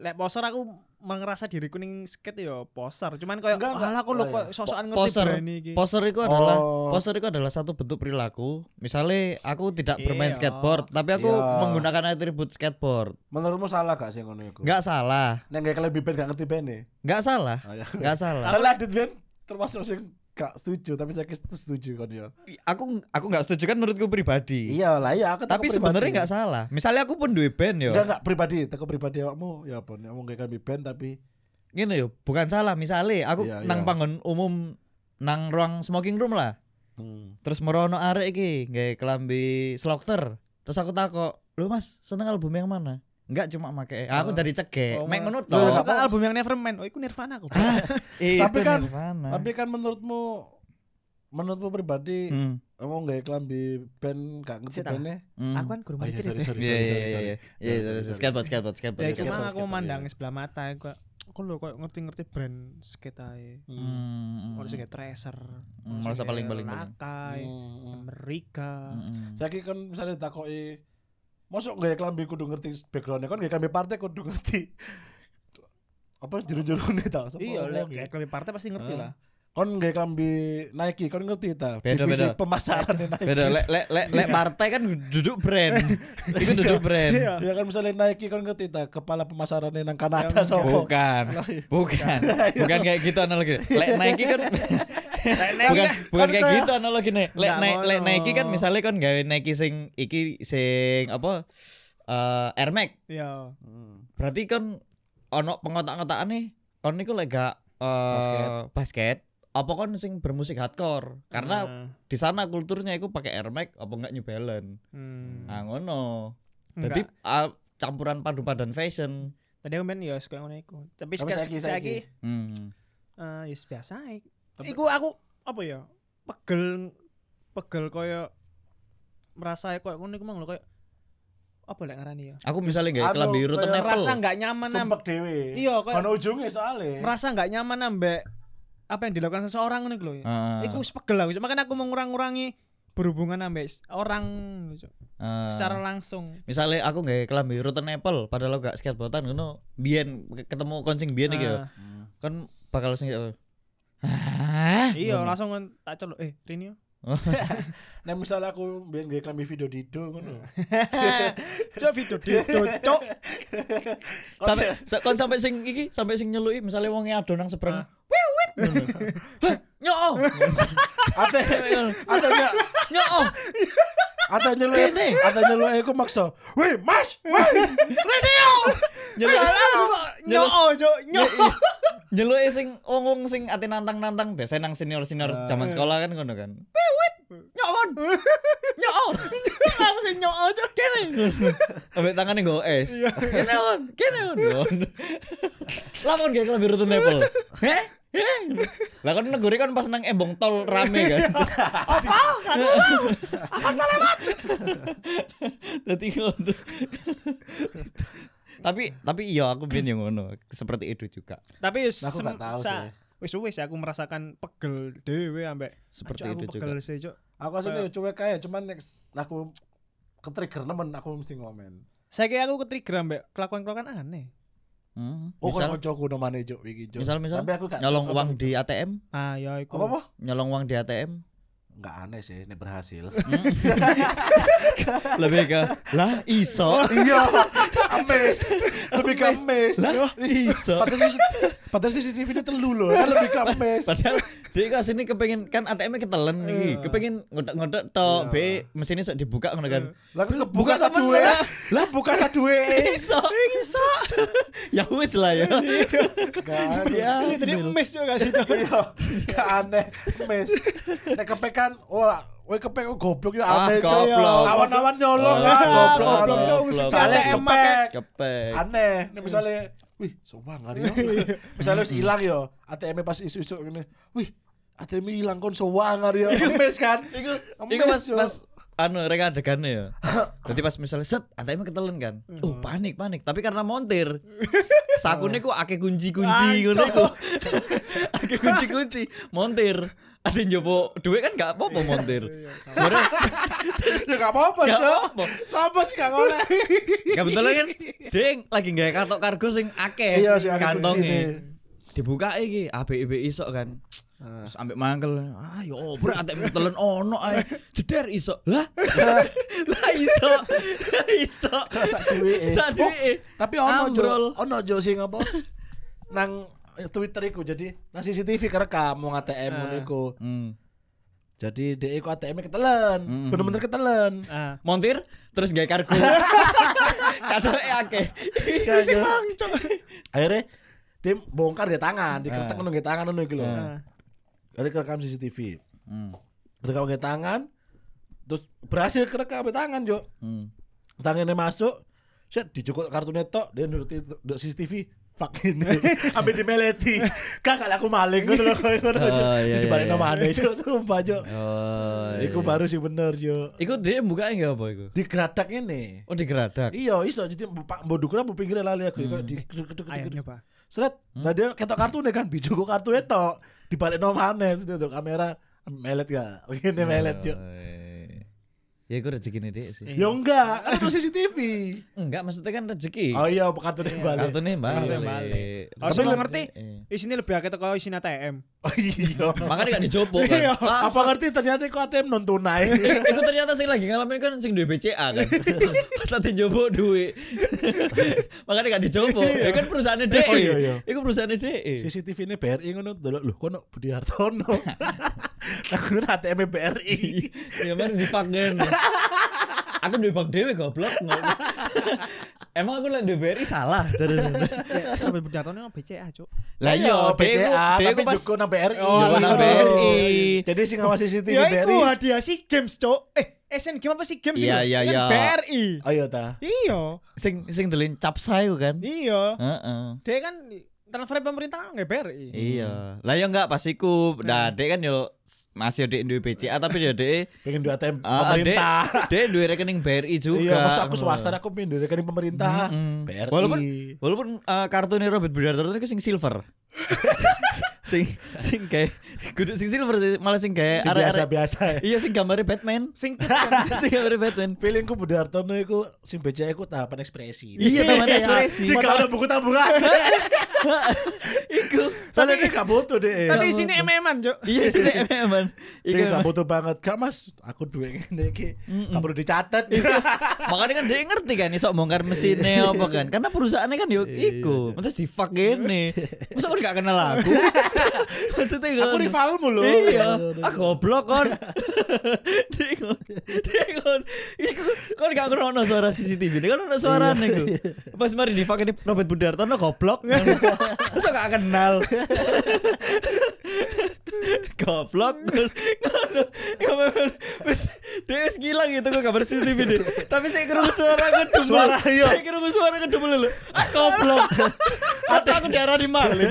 Speaker 4: lek poser aku merasa diriku ning skate yo poser cuman koyo
Speaker 1: Enggak, enggak.
Speaker 4: alah aku lho
Speaker 1: Oh,
Speaker 4: kok sosokan ngerti
Speaker 2: poser
Speaker 4: brand iki
Speaker 2: poser itu adalah
Speaker 1: Oh.
Speaker 2: poser itu adalah satu bentuk perilaku misalnya aku tidak bermain
Speaker 4: Iya.
Speaker 2: skateboard tapi aku menggunakan atribut skateboard
Speaker 1: Menurutmu salah gak sih ngono iku?
Speaker 2: nggak salah
Speaker 1: Nek gak kelebihan gak ngerti bene.
Speaker 2: nggak salah
Speaker 1: iya.
Speaker 2: nggak salah
Speaker 1: Salah adit ben termasuk sing gak setuju tapi saya setuju kan ya.
Speaker 2: aku aku nggak setuju kan menurutku pribadi
Speaker 1: Iya lah ya aku Iya.
Speaker 2: tapi sebenarnya nggak salah misalnya aku pun duwe band yo
Speaker 1: Enggak enggak pribadi, teko pribadi awakmu ya apa nek wong kayak kami band tapi
Speaker 2: gini yo bukan salah misalnya aku
Speaker 1: Iya, iya.
Speaker 2: nang panggon umum nang ruang smoking room lah
Speaker 1: hmm.
Speaker 2: terus merono arek iki nggawe kelambi slokter terus aku takok lu mas seneng album yang mana Enggak cuma make aku dari cegek
Speaker 4: Oh,
Speaker 2: mek ngono
Speaker 4: malah. Loh,
Speaker 2: tok.
Speaker 4: suka album yang Nevermind. Oh, iku Nirvana aku.
Speaker 1: Tapi kan tapi kan menurutmu menurutmu pribadi
Speaker 2: Hmm.
Speaker 1: emang gak klambi band gak ngerti
Speaker 4: Sita.
Speaker 1: bandnya
Speaker 4: Aku kan guru
Speaker 1: Oh, iya,
Speaker 4: macet.
Speaker 1: sorry, sorry, sorry,
Speaker 2: Iya
Speaker 1: sorry,
Speaker 2: iya iya
Speaker 1: sorry.
Speaker 2: iya. Iya iya, iya, skateboard skateboard skateboard.
Speaker 4: Ya
Speaker 2: skateboard.
Speaker 4: cuma
Speaker 1: skater,
Speaker 4: aku mandang sebelah mata aku aku lho kok ngerti-ngerti brand skate ae.
Speaker 2: Hmm,
Speaker 4: Ono sing kayak Tracer. ono
Speaker 2: merasa
Speaker 4: sing
Speaker 2: paling-
Speaker 4: kayak
Speaker 2: paling- paling.
Speaker 4: Lakai, Amerika.
Speaker 1: Saiki kan misalnya takoki mosok gak klambi kudu ngerti backgroundnya kan gak klambi partai kudu ngerti apa juru-jurune ta Sopo
Speaker 4: Iya,
Speaker 1: ngomong
Speaker 4: lek
Speaker 1: ya?
Speaker 4: kayak klub partai pasti ngerti lah.
Speaker 1: kon gak klambi Nike kon ngerti ta
Speaker 2: Beda,
Speaker 1: divisi
Speaker 2: beda.
Speaker 1: pemasaran Nike
Speaker 2: Beda lek lek lek lek partai kan duduk brand. Itu duduk brand.
Speaker 1: ya kan misalnya Nike kon ngerti ta kepala pemasaran nang Kanada sopo
Speaker 2: Bukan.
Speaker 1: Iya.
Speaker 2: Bukan. Bukan kayak gitu analogi. Lek Nike kan bukan bukan kayak gitu analogi nih. Lek
Speaker 4: Nggak
Speaker 2: Nike lek
Speaker 4: ngono.
Speaker 2: Nike kan misalnya kan gawe Nike sing iki sing apa eh Air Max.
Speaker 4: Iya.
Speaker 2: Berarti kan ono pengotak-ngotakan nih. Kon niku lek gak eh,
Speaker 1: Basket.
Speaker 2: basket. Apa kon sing bermusik hardcore? Karena
Speaker 4: Nah.
Speaker 2: di sana kulturnya iku pakai Air Max apa enggak New Balance.
Speaker 4: Hmm.
Speaker 2: Ah ngono. Jadi ah, campuran padu padan fashion.
Speaker 4: Tadi aku main ya suka ngono iku. Tapi
Speaker 1: Tapi
Speaker 4: sekarang
Speaker 1: saiki- saiki.
Speaker 4: saiki
Speaker 2: Hmm.
Speaker 4: eh ya biasa ae. Iku aku apa ya? Pegel pegel koyo merasa koyo ngono iku mang lho koyo apa lek ngarani ya?
Speaker 2: Aku misalnya gak
Speaker 1: anu,
Speaker 2: kelambi biru
Speaker 1: kayak
Speaker 2: tenepel.
Speaker 4: Merasa nggak nyaman
Speaker 1: sumpek dewe
Speaker 4: Iya, kayak-
Speaker 1: kon ujungnya soalnya
Speaker 4: merasa nggak nyaman ambek apa yang dilakukan seseorang nih loh.
Speaker 2: Ah.
Speaker 4: Iku wis pegel aku. Cuk. Makanya aku mengurang-urangi berhubungan ambek s- orang Cuk.
Speaker 2: Ah.
Speaker 4: secara langsung.
Speaker 2: Misalnya aku gak kelambi biru tenepel padahal gak skateboardan ngono. Biyen ketemu koncing biyen iki ya. Kan bakal sing Hah?
Speaker 4: Iya, langsung ngon- tak celuk. Eh, Rini. yo.
Speaker 1: Nah misalnya aku biar gak klambi video Dido ngono.
Speaker 4: Hmm. Cuk video dedo, cuk.
Speaker 2: sampai sa- kon sampai sing iki sampai sing nyeluki misalnya wong ado nang seberang. Wiwit. Hah, Nyoo.
Speaker 1: Ate ate enggak
Speaker 2: Nyoo.
Speaker 1: Ada nyeluk ada nyeluk aku maksa. Wih, Mas, wih. Radio.
Speaker 2: Nyeluk-
Speaker 4: Iya, Nyok cok, nyok.
Speaker 2: Jeluk sing ongong sing ati nantang-nantang biasanya nang senior-senior zaman sekolah kan ngono kan.
Speaker 4: Nyokon. Nyokon. Apa sih nyok cok kene.
Speaker 2: Ambek tangane nggo es.
Speaker 1: Iya.
Speaker 2: Kene on, kene on. Lamun gak lebih rutun apple. Heh? Heh? Lah kan negeri kan pas nang embong tol rame kan.
Speaker 1: Oh,
Speaker 4: Apa? Kan
Speaker 2: Dadi ngono. Tapi tapi iya aku biyen yang ngono, seperti itu juga.
Speaker 4: Tapi wis
Speaker 1: Aku nggak
Speaker 4: sem-
Speaker 1: tahu
Speaker 4: sa-
Speaker 1: sih.
Speaker 4: Wis wis aku merasakan pegel dewe ambek
Speaker 2: Seperti
Speaker 4: "Cok, aku
Speaker 2: itu juga.
Speaker 4: Pegel sih, Cok."
Speaker 1: Aku aslinya cuek aja, cuman next aku ketrigger nemen aku mesti ngomen.
Speaker 4: Saiki aku ketrigger ambek kelakuan-kelakuan aneh.
Speaker 2: Hmm.
Speaker 1: Oh, kan
Speaker 2: Misal
Speaker 1: kocokku nomane juk iki juk.
Speaker 2: misal misal
Speaker 1: Tapi aku gak
Speaker 2: nyolong uang di ATM,
Speaker 4: Ah, ya iku.
Speaker 1: apa apa?
Speaker 2: nyolong uang di ATM.
Speaker 1: Enggak aneh sih, ini berhasil.
Speaker 2: Hmm? Lebih ke lah iso.
Speaker 1: Iya, ames. Lebih ke ames.
Speaker 2: Lah iso.
Speaker 1: Padahal CCTV padahal CCTV ini telu loh, kan lebih ke ames.
Speaker 2: Padahal dia ke sini kepengen kan ATM-nya ketelan iki, kepengen ngodok-ngodok tok be mesinnya sok dibuka ngono kan.
Speaker 1: Lah kan kebuka
Speaker 2: sama
Speaker 1: satu ya.
Speaker 2: lah.
Speaker 1: Lah buka satu ya.
Speaker 2: Iso. Iso. ya wis lah ya.
Speaker 1: Gak
Speaker 4: Iya, tadi mes juga gak sih, Cok.
Speaker 2: Iya.
Speaker 1: gak aneh, ames. Nek kepekan, wah, Woi kepek oh, goblok ya
Speaker 2: Ah,
Speaker 1: aneh cok.
Speaker 2: goblok.
Speaker 1: Kawan-kawan nyolong
Speaker 2: Ah,
Speaker 1: ah,
Speaker 2: goblok,
Speaker 1: goblok.
Speaker 4: goblok, Cok. Mesti
Speaker 2: goblok.
Speaker 1: Soalnya
Speaker 4: jatah emak,
Speaker 1: kepek.
Speaker 2: Kepek.
Speaker 1: aneh nih Eh, misalnya wih sombong hari ini ya. misalnya wis hilang ya, yo ATM -e pas isu-isu ini wih ATM -e hilang kon sombong hari ini mes kan iku
Speaker 2: Iku mas mas anu rek adegannya ya. Jadi pas misalnya set ATM ketelan kan. Oh panik panik tapi karena montir. Sakune ku akeh kunci-kunci ngono iku. Akeh kunci-kunci montir. Ate njopo duit kan gak apa-apa montir. Sebenarnya
Speaker 1: ya gak apa-apa
Speaker 2: Gak
Speaker 1: cok
Speaker 2: apa-apa.
Speaker 1: siapa sih gak ngoleh
Speaker 2: kebetulan kan ding lagi nggak katok kargo sing akeh
Speaker 1: Iya, sing akeh
Speaker 2: kantongnya
Speaker 1: kuncinya.
Speaker 2: dibuka iki ABIB isok kan Terus ambek mangkel ah yo obrek atek telen ono ae jeder isok lah lah isok Lah, isok
Speaker 1: sak duwe e.
Speaker 2: sak duwe
Speaker 1: Oh,
Speaker 2: e.
Speaker 1: tapi ono jo
Speaker 2: Ambrol.
Speaker 1: ono jo sing apa nang eh, Twitter iku jadi nang CCTV kerekam wong ATM ngono iku
Speaker 2: Hmm.
Speaker 1: jadi dek iku ATM -nya -e ketelen bener-bener ketelen
Speaker 4: Ah.
Speaker 2: montir terus gawe kargo katoke akeh
Speaker 4: Wis bang, Cok.
Speaker 1: akhirnya dia bongkar di tangan diketek nunggu tangan nunggu gitu loh jadi kerekam CCTV Hmm. kerekam di tangan terus berhasil kerekam di tangan jo tangannya masuk set dijukuk kartunya tok dia nuruti nduk CCTV fuck ini ambil dimeleti kakak aku maling ngono lho koyo ngono Jo.
Speaker 2: Oh, iya,
Speaker 1: dijebarin
Speaker 2: iya,
Speaker 1: nama aneh jo sumpah jo
Speaker 2: oh
Speaker 1: iku baru sih bener jo
Speaker 2: iku dia bukanya nggak apa iku
Speaker 1: digeradak ini
Speaker 2: oh digeradak
Speaker 1: iya iso jadi mbok dukur mbok pinggire lali aku kok di
Speaker 4: Ayo nyoba.
Speaker 1: Seret,
Speaker 2: Hmm.
Speaker 1: nah dia ketok kartu nih kan, bijo kok kartu itu dibalik no maneh sudah tuh kamera melet gak, ini
Speaker 2: Iya.
Speaker 1: melet yuk.
Speaker 2: ya iku rezekine dhek sih
Speaker 1: Ya enggak, kan itu CCTV.
Speaker 2: Enggak, maksudnya kan rezeki.
Speaker 1: Oh iya, apa kartu nih balik?
Speaker 2: Kartunya balik.
Speaker 4: Oh,
Speaker 2: Tapi
Speaker 4: sebelum
Speaker 2: kan-
Speaker 4: ngerti,
Speaker 2: eh.
Speaker 4: isine lebih akeh teko isin ATM.
Speaker 1: Oh iya.
Speaker 2: Makanya gak dicoba kan.
Speaker 4: Iya.
Speaker 2: Ah,
Speaker 1: Apa ngerti ternyata kok ATM non tunai?
Speaker 2: eh, itu ternyata sih lagi ngalamin kan sing duwe BCA kan. Pas ate njobo duwe. Makanya gak dicoba. Ya kan perusahaannya DE.
Speaker 1: Oh, iya, iya.
Speaker 2: Iku perusahaannya E. DE.
Speaker 1: CCTV ini BRI ngono dulu loh, kok no Budi Hartono. Aku kan ATM BRI.
Speaker 2: Ya mana dipangen. Aku duwe bank dhewe goblok. Emang aku lek duwe BRI salah.
Speaker 4: Ya, tapi bedatone BCA, Cok.
Speaker 2: Lah iya,
Speaker 1: BCA,
Speaker 2: DE
Speaker 1: tapi
Speaker 2: ku pas
Speaker 1: juga nang BRI.
Speaker 2: Oh, nang BRI.
Speaker 1: Iya, Jadi sing ngawas CCTV
Speaker 4: Ya
Speaker 1: BRI.
Speaker 4: iku hadiah si Games, Cok. Eh, SN Games apa sih Games
Speaker 2: Iya,
Speaker 4: iku?
Speaker 2: iya,
Speaker 4: Kan
Speaker 2: iya.
Speaker 4: BRI.
Speaker 1: Oh iya ta.
Speaker 4: Iya.
Speaker 2: sing sing delin capsai ku kan.
Speaker 4: Iya.
Speaker 2: Heeh.
Speaker 4: Dia kan transfer pemerintah kan nggak BRI.
Speaker 2: Iya.
Speaker 1: Hmm.
Speaker 2: Lah ya enggak pas iku. Nah, dek kan yo s- masih yo dek duwe BCA tapi yo dek
Speaker 1: Pengen dua ATM
Speaker 2: ah, dek
Speaker 1: pemerintah.
Speaker 2: dek duwe rekening BRI juga.
Speaker 1: Iya, masa aku swasta aku pindah rekening pemerintah. BRI.
Speaker 2: Walaupun walaupun eh, kartunya Robert Bernardo itu sing silver. sing sing kayak kudu sing silver sih, malah sing kayak
Speaker 1: Sing
Speaker 2: arek-arek-
Speaker 1: biasa-biasa ya.
Speaker 2: Iya sing gambarnya Batman.
Speaker 4: Sing
Speaker 2: sing gambarnya Batman.
Speaker 1: feelingku Budi Hartono iku sing BCA iku tahapan ekspresi. Iya,
Speaker 2: Iya, taman ekspresi.
Speaker 1: Sing gak ada buku tabungan.
Speaker 2: Iku iku.
Speaker 1: Soalnya ini gak butuh deh.
Speaker 4: Tapi sini MM-an, Cuk.
Speaker 2: Iya sih nek emang.
Speaker 1: Ini
Speaker 2: Iku
Speaker 1: gak butuh banget. Gak mas, aku duit ini iki. Gak perlu dicatat.
Speaker 2: Makanya kan dia ngerti kan iso bongkar mesinnya apa kan. Karena perusahaannya kan yo iku. Masa di fuck gini. Masa kon gak kenal aku. Maksudnya
Speaker 1: Aku
Speaker 2: kan-
Speaker 1: rivalmu loh.
Speaker 2: Iya, ah goblok kon. Dia kon. Dia kon. Iku kon gak ngrono suara CCTV. Dia kan ono suarane
Speaker 1: Iya.
Speaker 2: iku. Pas mari di fuck ini Robert Budartono goblok. Masa gak kenal. goblok ngono Ngono. wis dia wis gila gitu kok kabar CCTV deh tapi saya kerungu suara kedubel
Speaker 1: Suara, iya.
Speaker 2: saya kerungu suara kedubel lho ah goblok atau aku diarah di malin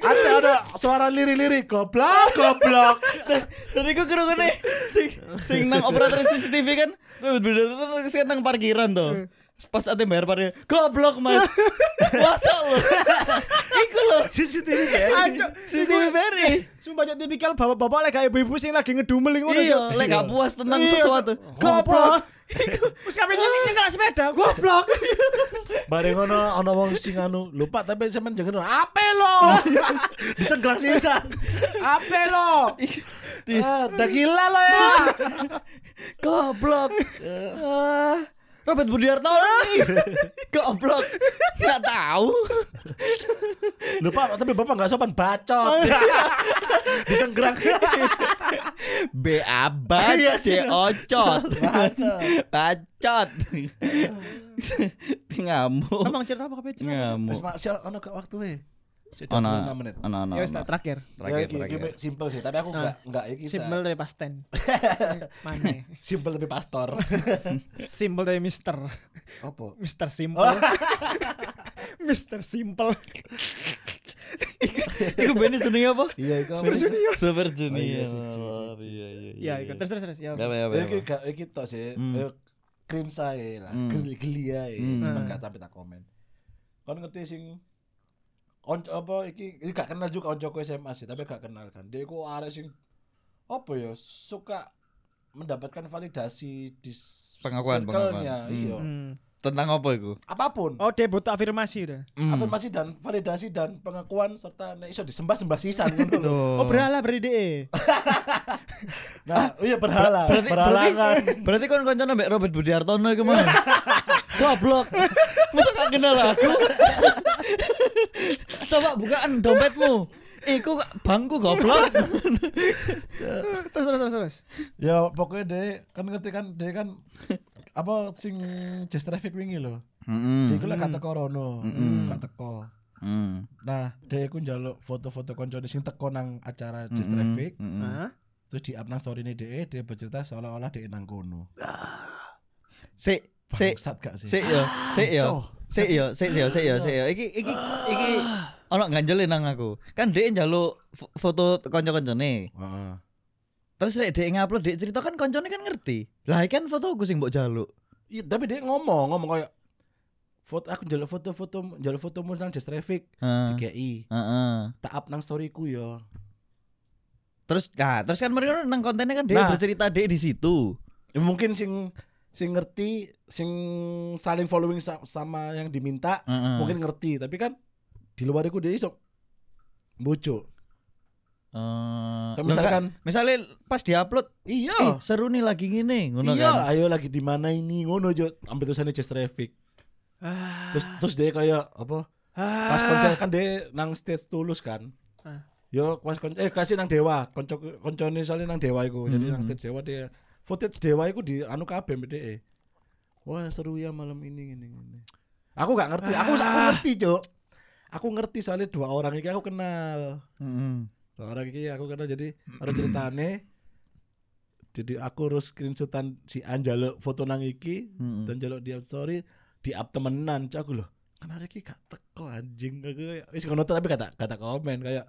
Speaker 1: Ada ada suara liri-liri goblok goblok.
Speaker 2: dan aku kerungu nih sing sing nang operator CCTV kan bener terus kan nang parkiran tuh pas ate bayar parkir goblok mas masa lo iku lo
Speaker 1: CCTV ya.
Speaker 2: iya.
Speaker 4: Anjo,
Speaker 2: CCTV beri
Speaker 4: Ah, sumpah cok tipikal bapak-bapak lek gak ibu-ibu sing lagi ngedumel ngono. Cuk.
Speaker 2: iya lek gak puas tentang
Speaker 4: Eh, Iya.
Speaker 2: sesuatu
Speaker 4: Goblok.
Speaker 2: goblok
Speaker 4: Wis kabeh nyekel sepeda, goblok.
Speaker 1: Bareng ono ono wong sing anu lupa tapi sampean jangan ape lo. Disegrak sisan. Ape lo. Ah, Udah gila lo ya.
Speaker 2: Goblok. Ah, Robert Budiartono. Goblok. Enggak tahu.
Speaker 1: Lupa tapi bapak nggak sopan
Speaker 4: Oh,
Speaker 1: bacot.
Speaker 2: Iya.
Speaker 1: Disegrak.
Speaker 2: B abad
Speaker 1: Iya,
Speaker 2: C ocot.
Speaker 1: Bacot.
Speaker 2: Bacot. Ngamuk.
Speaker 4: Emang cerita apa kabeh cerita?
Speaker 2: Ngamuk.
Speaker 1: Wis mak ono gak waktu e. Sejak
Speaker 2: Ono
Speaker 1: 26 menit.
Speaker 2: ono ono.
Speaker 4: Ya wis tak terakhir.
Speaker 1: Ya,
Speaker 2: Terakhir
Speaker 1: iki- iki
Speaker 2: terakhir.
Speaker 1: simpel sih, tapi aku nggak nggak iki sa-
Speaker 4: Simple dari pasten. Mana?
Speaker 1: simpel tapi pastor.
Speaker 4: Simple dari Mister.
Speaker 1: Opo?
Speaker 4: Mister Simple. Mister Simple.
Speaker 2: Iku bener jenenge apa?
Speaker 1: Iya, iku.
Speaker 2: Super Junior. Super
Speaker 1: iya,
Speaker 2: Junior.
Speaker 1: Super Junior.
Speaker 2: Iya iya iya.
Speaker 4: Ya, ikut terus terus terus, ya.
Speaker 2: Apa, apa,
Speaker 1: Ya, Iki
Speaker 2: apa? Hmm.
Speaker 1: gak iki tok sih. Eh, Cringe ae lah, geli geli ae.
Speaker 2: Hmm.
Speaker 1: Cuman gak sampe tak komen. Kon ngerti sing on apa iki iki gak kenal juga oncoku SMA sih, tapi gak kenal kan. Dia iku arek sing apa ya suka mendapatkan validasi di s-
Speaker 2: Pengakuan,
Speaker 1: circle-nya, iya.
Speaker 2: Hmm. Tentang apa iku?
Speaker 1: Apapun.
Speaker 4: Oh, dia butuh afirmasi itu.
Speaker 2: hmm.
Speaker 1: Afirmasi dan validasi dan pengakuan serta nek iso disembah-sembah sisan ngono lho.
Speaker 4: Oh, berhala beri DE.
Speaker 1: Nah, iya berhala,
Speaker 2: berarti berarti,
Speaker 1: berhalangan.
Speaker 2: berarti kon koncone mbek Robert Budi Hartono iku mah. Goblok. Masa gak kenal aku? Coba bukaan dompetmu. Iku bangku goblok.
Speaker 4: Terus terus terus terus.
Speaker 1: Ya pokoknya deh kan ngerti kan deh kan apa sing just traffic wingi lho. Heeh. Iku lek gak teko rono, gak teko.
Speaker 2: Hmm.
Speaker 1: Nah, deh aku njaluk foto-foto koncone sing teko nang acara just traffic.
Speaker 4: Hah?
Speaker 1: Terus di up nang story ini deh, dia bercerita seolah-olah deh nang kono.
Speaker 2: Sik, sik.
Speaker 1: Bangsat gak sih? Ah,
Speaker 2: Sik yo, sik yo. Sik yo, sik yo, sik yo, sik yo. iya, Iki iki iki ono ganjel nang aku. Kan dhek njaluk fo- foto kanca-kancane.
Speaker 1: Heeh.
Speaker 2: Terus lek dhek ngupload dhek cerita kan kancane kan ngerti. Lah iki kan fotoku sing mbok jaluk.
Speaker 1: Iya, tapi dia ngomong, ngomong kayak foto aku njaluk foto-foto njaluk fotomu nang just traffic
Speaker 2: Heeh.
Speaker 1: DKI.
Speaker 2: Heeh.
Speaker 1: Tak up nang storyku ya.
Speaker 2: Terus nah, terus kan mereka nang kontennya kan dia
Speaker 1: Nah.
Speaker 2: bercerita dia di situ.
Speaker 1: Ya, mungkin sing sing ngerti sing saling following sa- sama yang diminta
Speaker 2: Heeh.
Speaker 1: mungkin ngerti tapi kan di luar itu dia iso bojo
Speaker 2: Eh,
Speaker 1: Kayak
Speaker 2: loh,
Speaker 1: misalkan-
Speaker 2: Kak, misalnya pas diupload,
Speaker 1: iya
Speaker 2: eh seru nih lagi gini, ngono
Speaker 1: iya
Speaker 2: kan.
Speaker 1: ayo lagi di mana ini ngono jo ambil tulisannya just traffic
Speaker 2: Ah.
Speaker 1: terus terus dia kayak apa pas konser kan dia nang stage tulus kan
Speaker 4: Ah.
Speaker 1: yo pas kon eh kasih nang dewa konco koncone soalnya nang dewa itu jadi nang stage dewa dia footage dewa itu di anu kabeh BDE wah seru ya malam ini gini gini aku gak ngerti aku aku ngerti cok aku ngerti soalnya dua orang ini aku kenal
Speaker 2: Heeh.
Speaker 1: dua orang ini aku kenal jadi harus ceritane jadi aku harus screenshotan si Anjalo foto nang iki dan jaluk di story di up temenan cok aku loh kenapa iki gak teko anjing aku kayak, wis ngono tuh, tapi kata kata komen kayak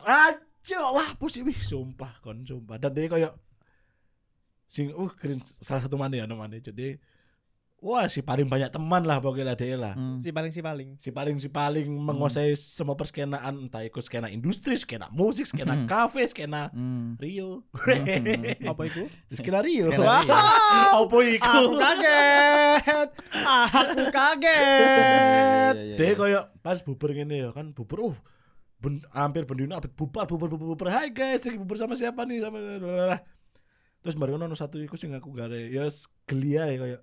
Speaker 1: Aduh lah pusing wih sumpah kon sumpah dan dia kayak sing uh keren salah satu mana ya namanya jadi wah si paling banyak teman lah pokoknya lah dia lah.
Speaker 4: Hmm. si paling si paling
Speaker 1: Si paling si paling
Speaker 2: Hmm.
Speaker 1: menguasai semua perskenaan entah itu skena industri, skena musik, skena
Speaker 2: Hmm.
Speaker 1: kafe, skena Rio.
Speaker 4: apa itu
Speaker 1: skena Rio.
Speaker 2: Skena Rio.
Speaker 1: Apa iku?
Speaker 4: aku kaget Ah, aku kaget
Speaker 2: Iya, iya,
Speaker 1: Dia koyo pas bubar ngene ya kan bubar uh ben- hampir bendino abet bubar bubar bubar bubar hai guys lagi bubar sama siapa nih sama lalalala. terus baru ono satu iku sing aku gare ya s- geli ae koyo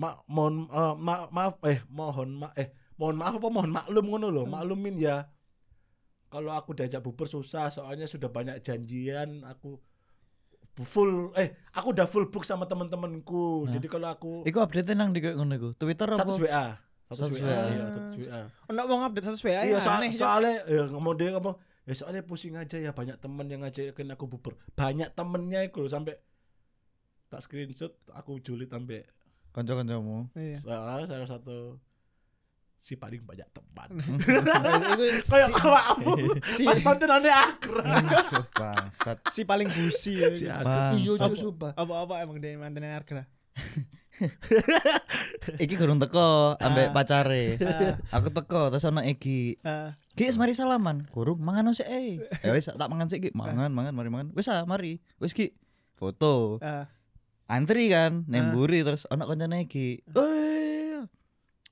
Speaker 1: ma mohon eh, ma- maaf eh mohon ma eh mohon maaf apa mohon maklum ngono lho
Speaker 2: Hmm.
Speaker 1: maklumin ya kalau aku diajak bubar susah soalnya sudah banyak janjian aku full eh aku udah full book sama temen-temenku jadi kalau aku
Speaker 2: Nah. Iku update nang di kayak ngono iku. Twitter apa?
Speaker 1: status WA status
Speaker 2: Status
Speaker 1: WA
Speaker 2: WA.
Speaker 1: iya, status WA
Speaker 4: Enak mau update satu ya
Speaker 1: Iya, soal,
Speaker 4: aneh.
Speaker 1: soalnya ya, ngomong dia ngomong ya soalnya pusing aja ya banyak temen yang ngajakin aku bubar banyak temennya itu loh, sampai tak screenshot aku julid sampai
Speaker 2: Kanca-kancamu.
Speaker 4: Iya.
Speaker 1: salah salah satu si paling banyak teman
Speaker 4: Itu
Speaker 1: kayak
Speaker 4: Hmm. si-
Speaker 1: awakmu
Speaker 4: si-
Speaker 1: pas kontenannya akrab
Speaker 2: Bangsat.
Speaker 4: si paling gusi ya.
Speaker 1: si akrab iya
Speaker 2: Bangsat.
Speaker 1: Cuk, sumpah
Speaker 4: apa-apa emang dari mantan harga
Speaker 2: Iki gurung teko ambek pacare. Aku teko terus ana iki.
Speaker 4: Ah,
Speaker 2: Ki mari salaman. Gurung mangan sik eh. Ya wis tak mangan sik Ki. Mangan, mangan, mari mangan. Wis ah, mari. Wis Ki. Foto.
Speaker 4: ah.
Speaker 2: Antri kan, nemburi terus ana kancane iki. Eh.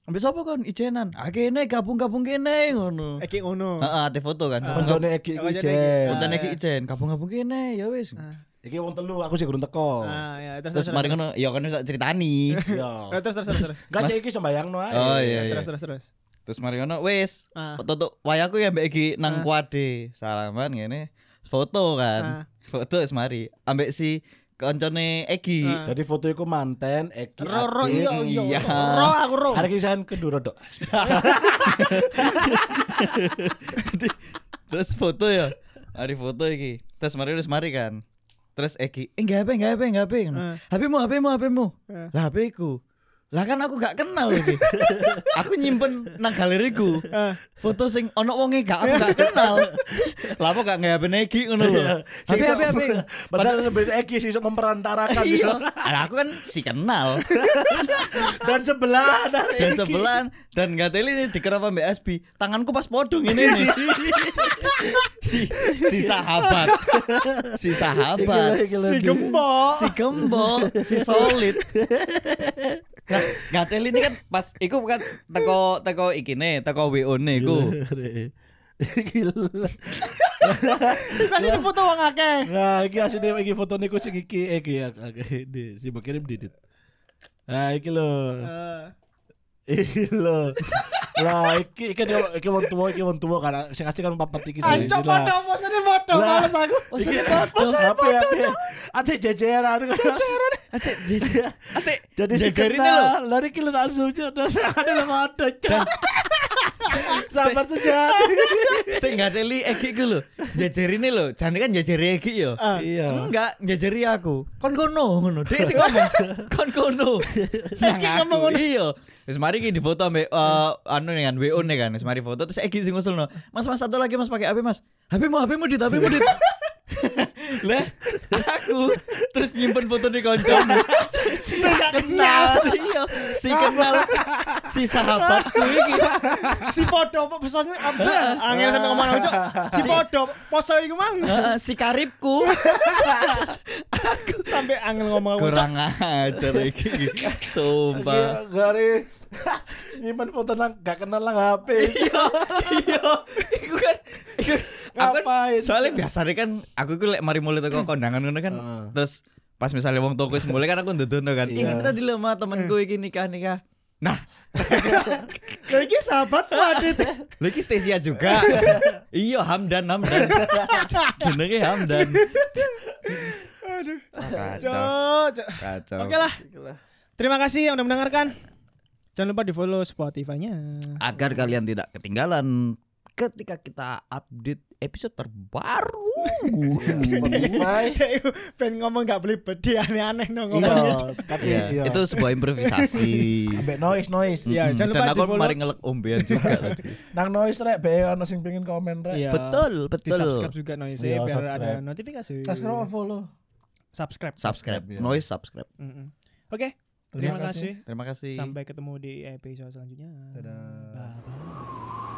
Speaker 2: Ambil sapa kon ijenan? Ah kene gabung-gabung kene ngono.
Speaker 4: Eki ngono.
Speaker 2: Heeh, ate foto kan.
Speaker 1: kontenannya Eki Eki
Speaker 4: Kontenannya
Speaker 1: Jen.
Speaker 2: Kancane iki ijen, gabung-gabung kene ya wis.
Speaker 1: Eki wong telu aku sih kurang teko
Speaker 4: Ah, ya, terus
Speaker 2: Terus mari ngono, ya kan tak ceritani.
Speaker 1: ya
Speaker 4: Eh, Terus terus terus terus.
Speaker 1: gak cek Eki sembayang no
Speaker 4: Ah.
Speaker 2: Oh iya iya.
Speaker 4: Terus terus terus.
Speaker 2: Terus mari ngono wis.
Speaker 4: Ah.
Speaker 2: Tutuk wayaku ya mbek iki nang kuade. Salaman ngene. Foto
Speaker 4: Ah.
Speaker 2: kan. Foto wis mari. Ambek si koncone Egi.
Speaker 1: jadi foto iku manten Eki
Speaker 4: Ah. Roro
Speaker 1: Ade.
Speaker 4: iya iya. Ro aku ro.
Speaker 1: hari kisahan kedua dok
Speaker 2: Terus foto ya. Mari foto iki. Terus mari wis mari kan. Terus Egi, "Eh enggak apa enggak apa enggak apa." ngono. "HP-mu, HP-mu, HP-mu." Lah HP-ku. Lah kan aku gak kenal iki. aku nyimpen nang galeriku. Foto sing ono wonge gak aku gak kenal. Lah apa gak nggak HP Egi ngono lho. HP HP HP.
Speaker 1: Padahal lebih Eki sih sok memperantarakan gitu.
Speaker 2: Iya. Lah aku kan si kenal.
Speaker 1: Dan sebelah ada
Speaker 2: dan
Speaker 1: Eki.
Speaker 2: sebelahan dan nggak teli ini dikerap sama SB tanganku pas podong ini nih si si sahabat si sahabat
Speaker 1: Iki lho, iki lho.
Speaker 2: si
Speaker 4: gembok.
Speaker 2: si gembok si solid nah nggak teli ini kan pas iku kan teko teko iki nih teko wo nih ku
Speaker 1: Iya. Gila.
Speaker 4: Kasih di foto wong
Speaker 2: Iya,
Speaker 4: akeh.
Speaker 1: Nah, iki asine iki foto niku sing iki iki ya iki, di si mbok kirim didit. Nah, iki lho.
Speaker 4: Eh,
Speaker 1: Iki lho. Lah iki iki dia- iki wong tuwa iki wong tuwa karena sing asli kan papat iki sih.
Speaker 2: iya,
Speaker 4: Ancok foto, maksudnya foto,
Speaker 1: Lah.
Speaker 4: males aku.
Speaker 2: Oh.
Speaker 1: Iki apa ya? Ate jejeran. Jejeran.
Speaker 2: Aceh, jejer. Ate,
Speaker 1: Jadi si
Speaker 2: jejerin Ah, ini lho.
Speaker 1: kenal, lari kilo langsung aja, dan ada yang ada cok. Sabar sejati.
Speaker 2: Sing nggak teli Egi ku lho. Jejerin ini lho. Jane kan jejeri Egi yo.
Speaker 1: Iya.
Speaker 2: Enggak, jajari aku. Kon kono ngono. Dek sing ngomong. Kon kono. Nang aku. Iya. Wis mari iki difoto ambek eh, anu nih kan WO nih kan. Wis mari foto terus Egi sing ngusulno. Mas Mas satu lagi Mas pakai HP Mas. HP-mu HP-mu dit HP-mu dit. Lah, aku terus nyimpen foto di koncomu. si gak kenal. Iya, si kenal. Si sahabatku iki.
Speaker 4: Si foto apa pesannya ambil. Angel sampe ngomong aku, Cok. Si foto pose iku mang.
Speaker 2: Heeh, si karibku.
Speaker 4: Sampai angel ngomong aku. Cok.
Speaker 2: Kurang ajar iki. Sumpah.
Speaker 1: Gari nyimpan Iya, foto nang gak kenal nang HP.
Speaker 2: iya iya iku kan iku aku kan-
Speaker 1: Ngapain?
Speaker 2: soalnya biasanya kan aku iku lek mari mulai toko kondangan ngono kan terus pas misalnya wong toko wis mulai kan aku ndodono kan ini
Speaker 4: Iya.
Speaker 2: tadi lho ma temenku iki nikah nikah nah
Speaker 4: Lah iki sahabat Adit.
Speaker 2: lho iki Stasia juga iya Hamdan Hamdan jenenge Hamdan
Speaker 4: Aduh.
Speaker 2: kacau
Speaker 4: Cok, Cok.
Speaker 2: kacau
Speaker 4: Oke lah. Terima kasih yang udah mendengarkan. Jangan lupa di follow Spotify-nya.
Speaker 2: agar kalian tidak ketinggalan ketika kita update episode terbaru
Speaker 1: Spotify.
Speaker 4: Dek, pengen ngomong gak beli bedi aneh-aneh no
Speaker 1: Iya,
Speaker 4: ngomongnya.
Speaker 1: tapi
Speaker 2: Iya,
Speaker 1: iya.
Speaker 2: itu sebuah improvisasi
Speaker 1: Ambek noise noise.
Speaker 4: Iya,
Speaker 2: Hmm, dan
Speaker 4: jangan lupa Iya.
Speaker 2: aku
Speaker 4: di follow.
Speaker 2: kemarin ngelek ombean juga tadi.
Speaker 1: Nang noise rek be ono sing pengen komen rek.
Speaker 4: Iya.
Speaker 2: Betul,
Speaker 4: Di
Speaker 2: betul.
Speaker 4: subscribe juga noise
Speaker 1: Iya,
Speaker 4: biar ada
Speaker 1: subscribe.
Speaker 4: notifikasi.
Speaker 1: Subscribe or follow.
Speaker 4: Subscribe.
Speaker 2: Subscribe, noise subscribe.
Speaker 4: Mm-mm. Oke. Terima kasih.
Speaker 2: Terima kasih.
Speaker 4: Sampai ketemu di episode selanjutnya. Bye bye.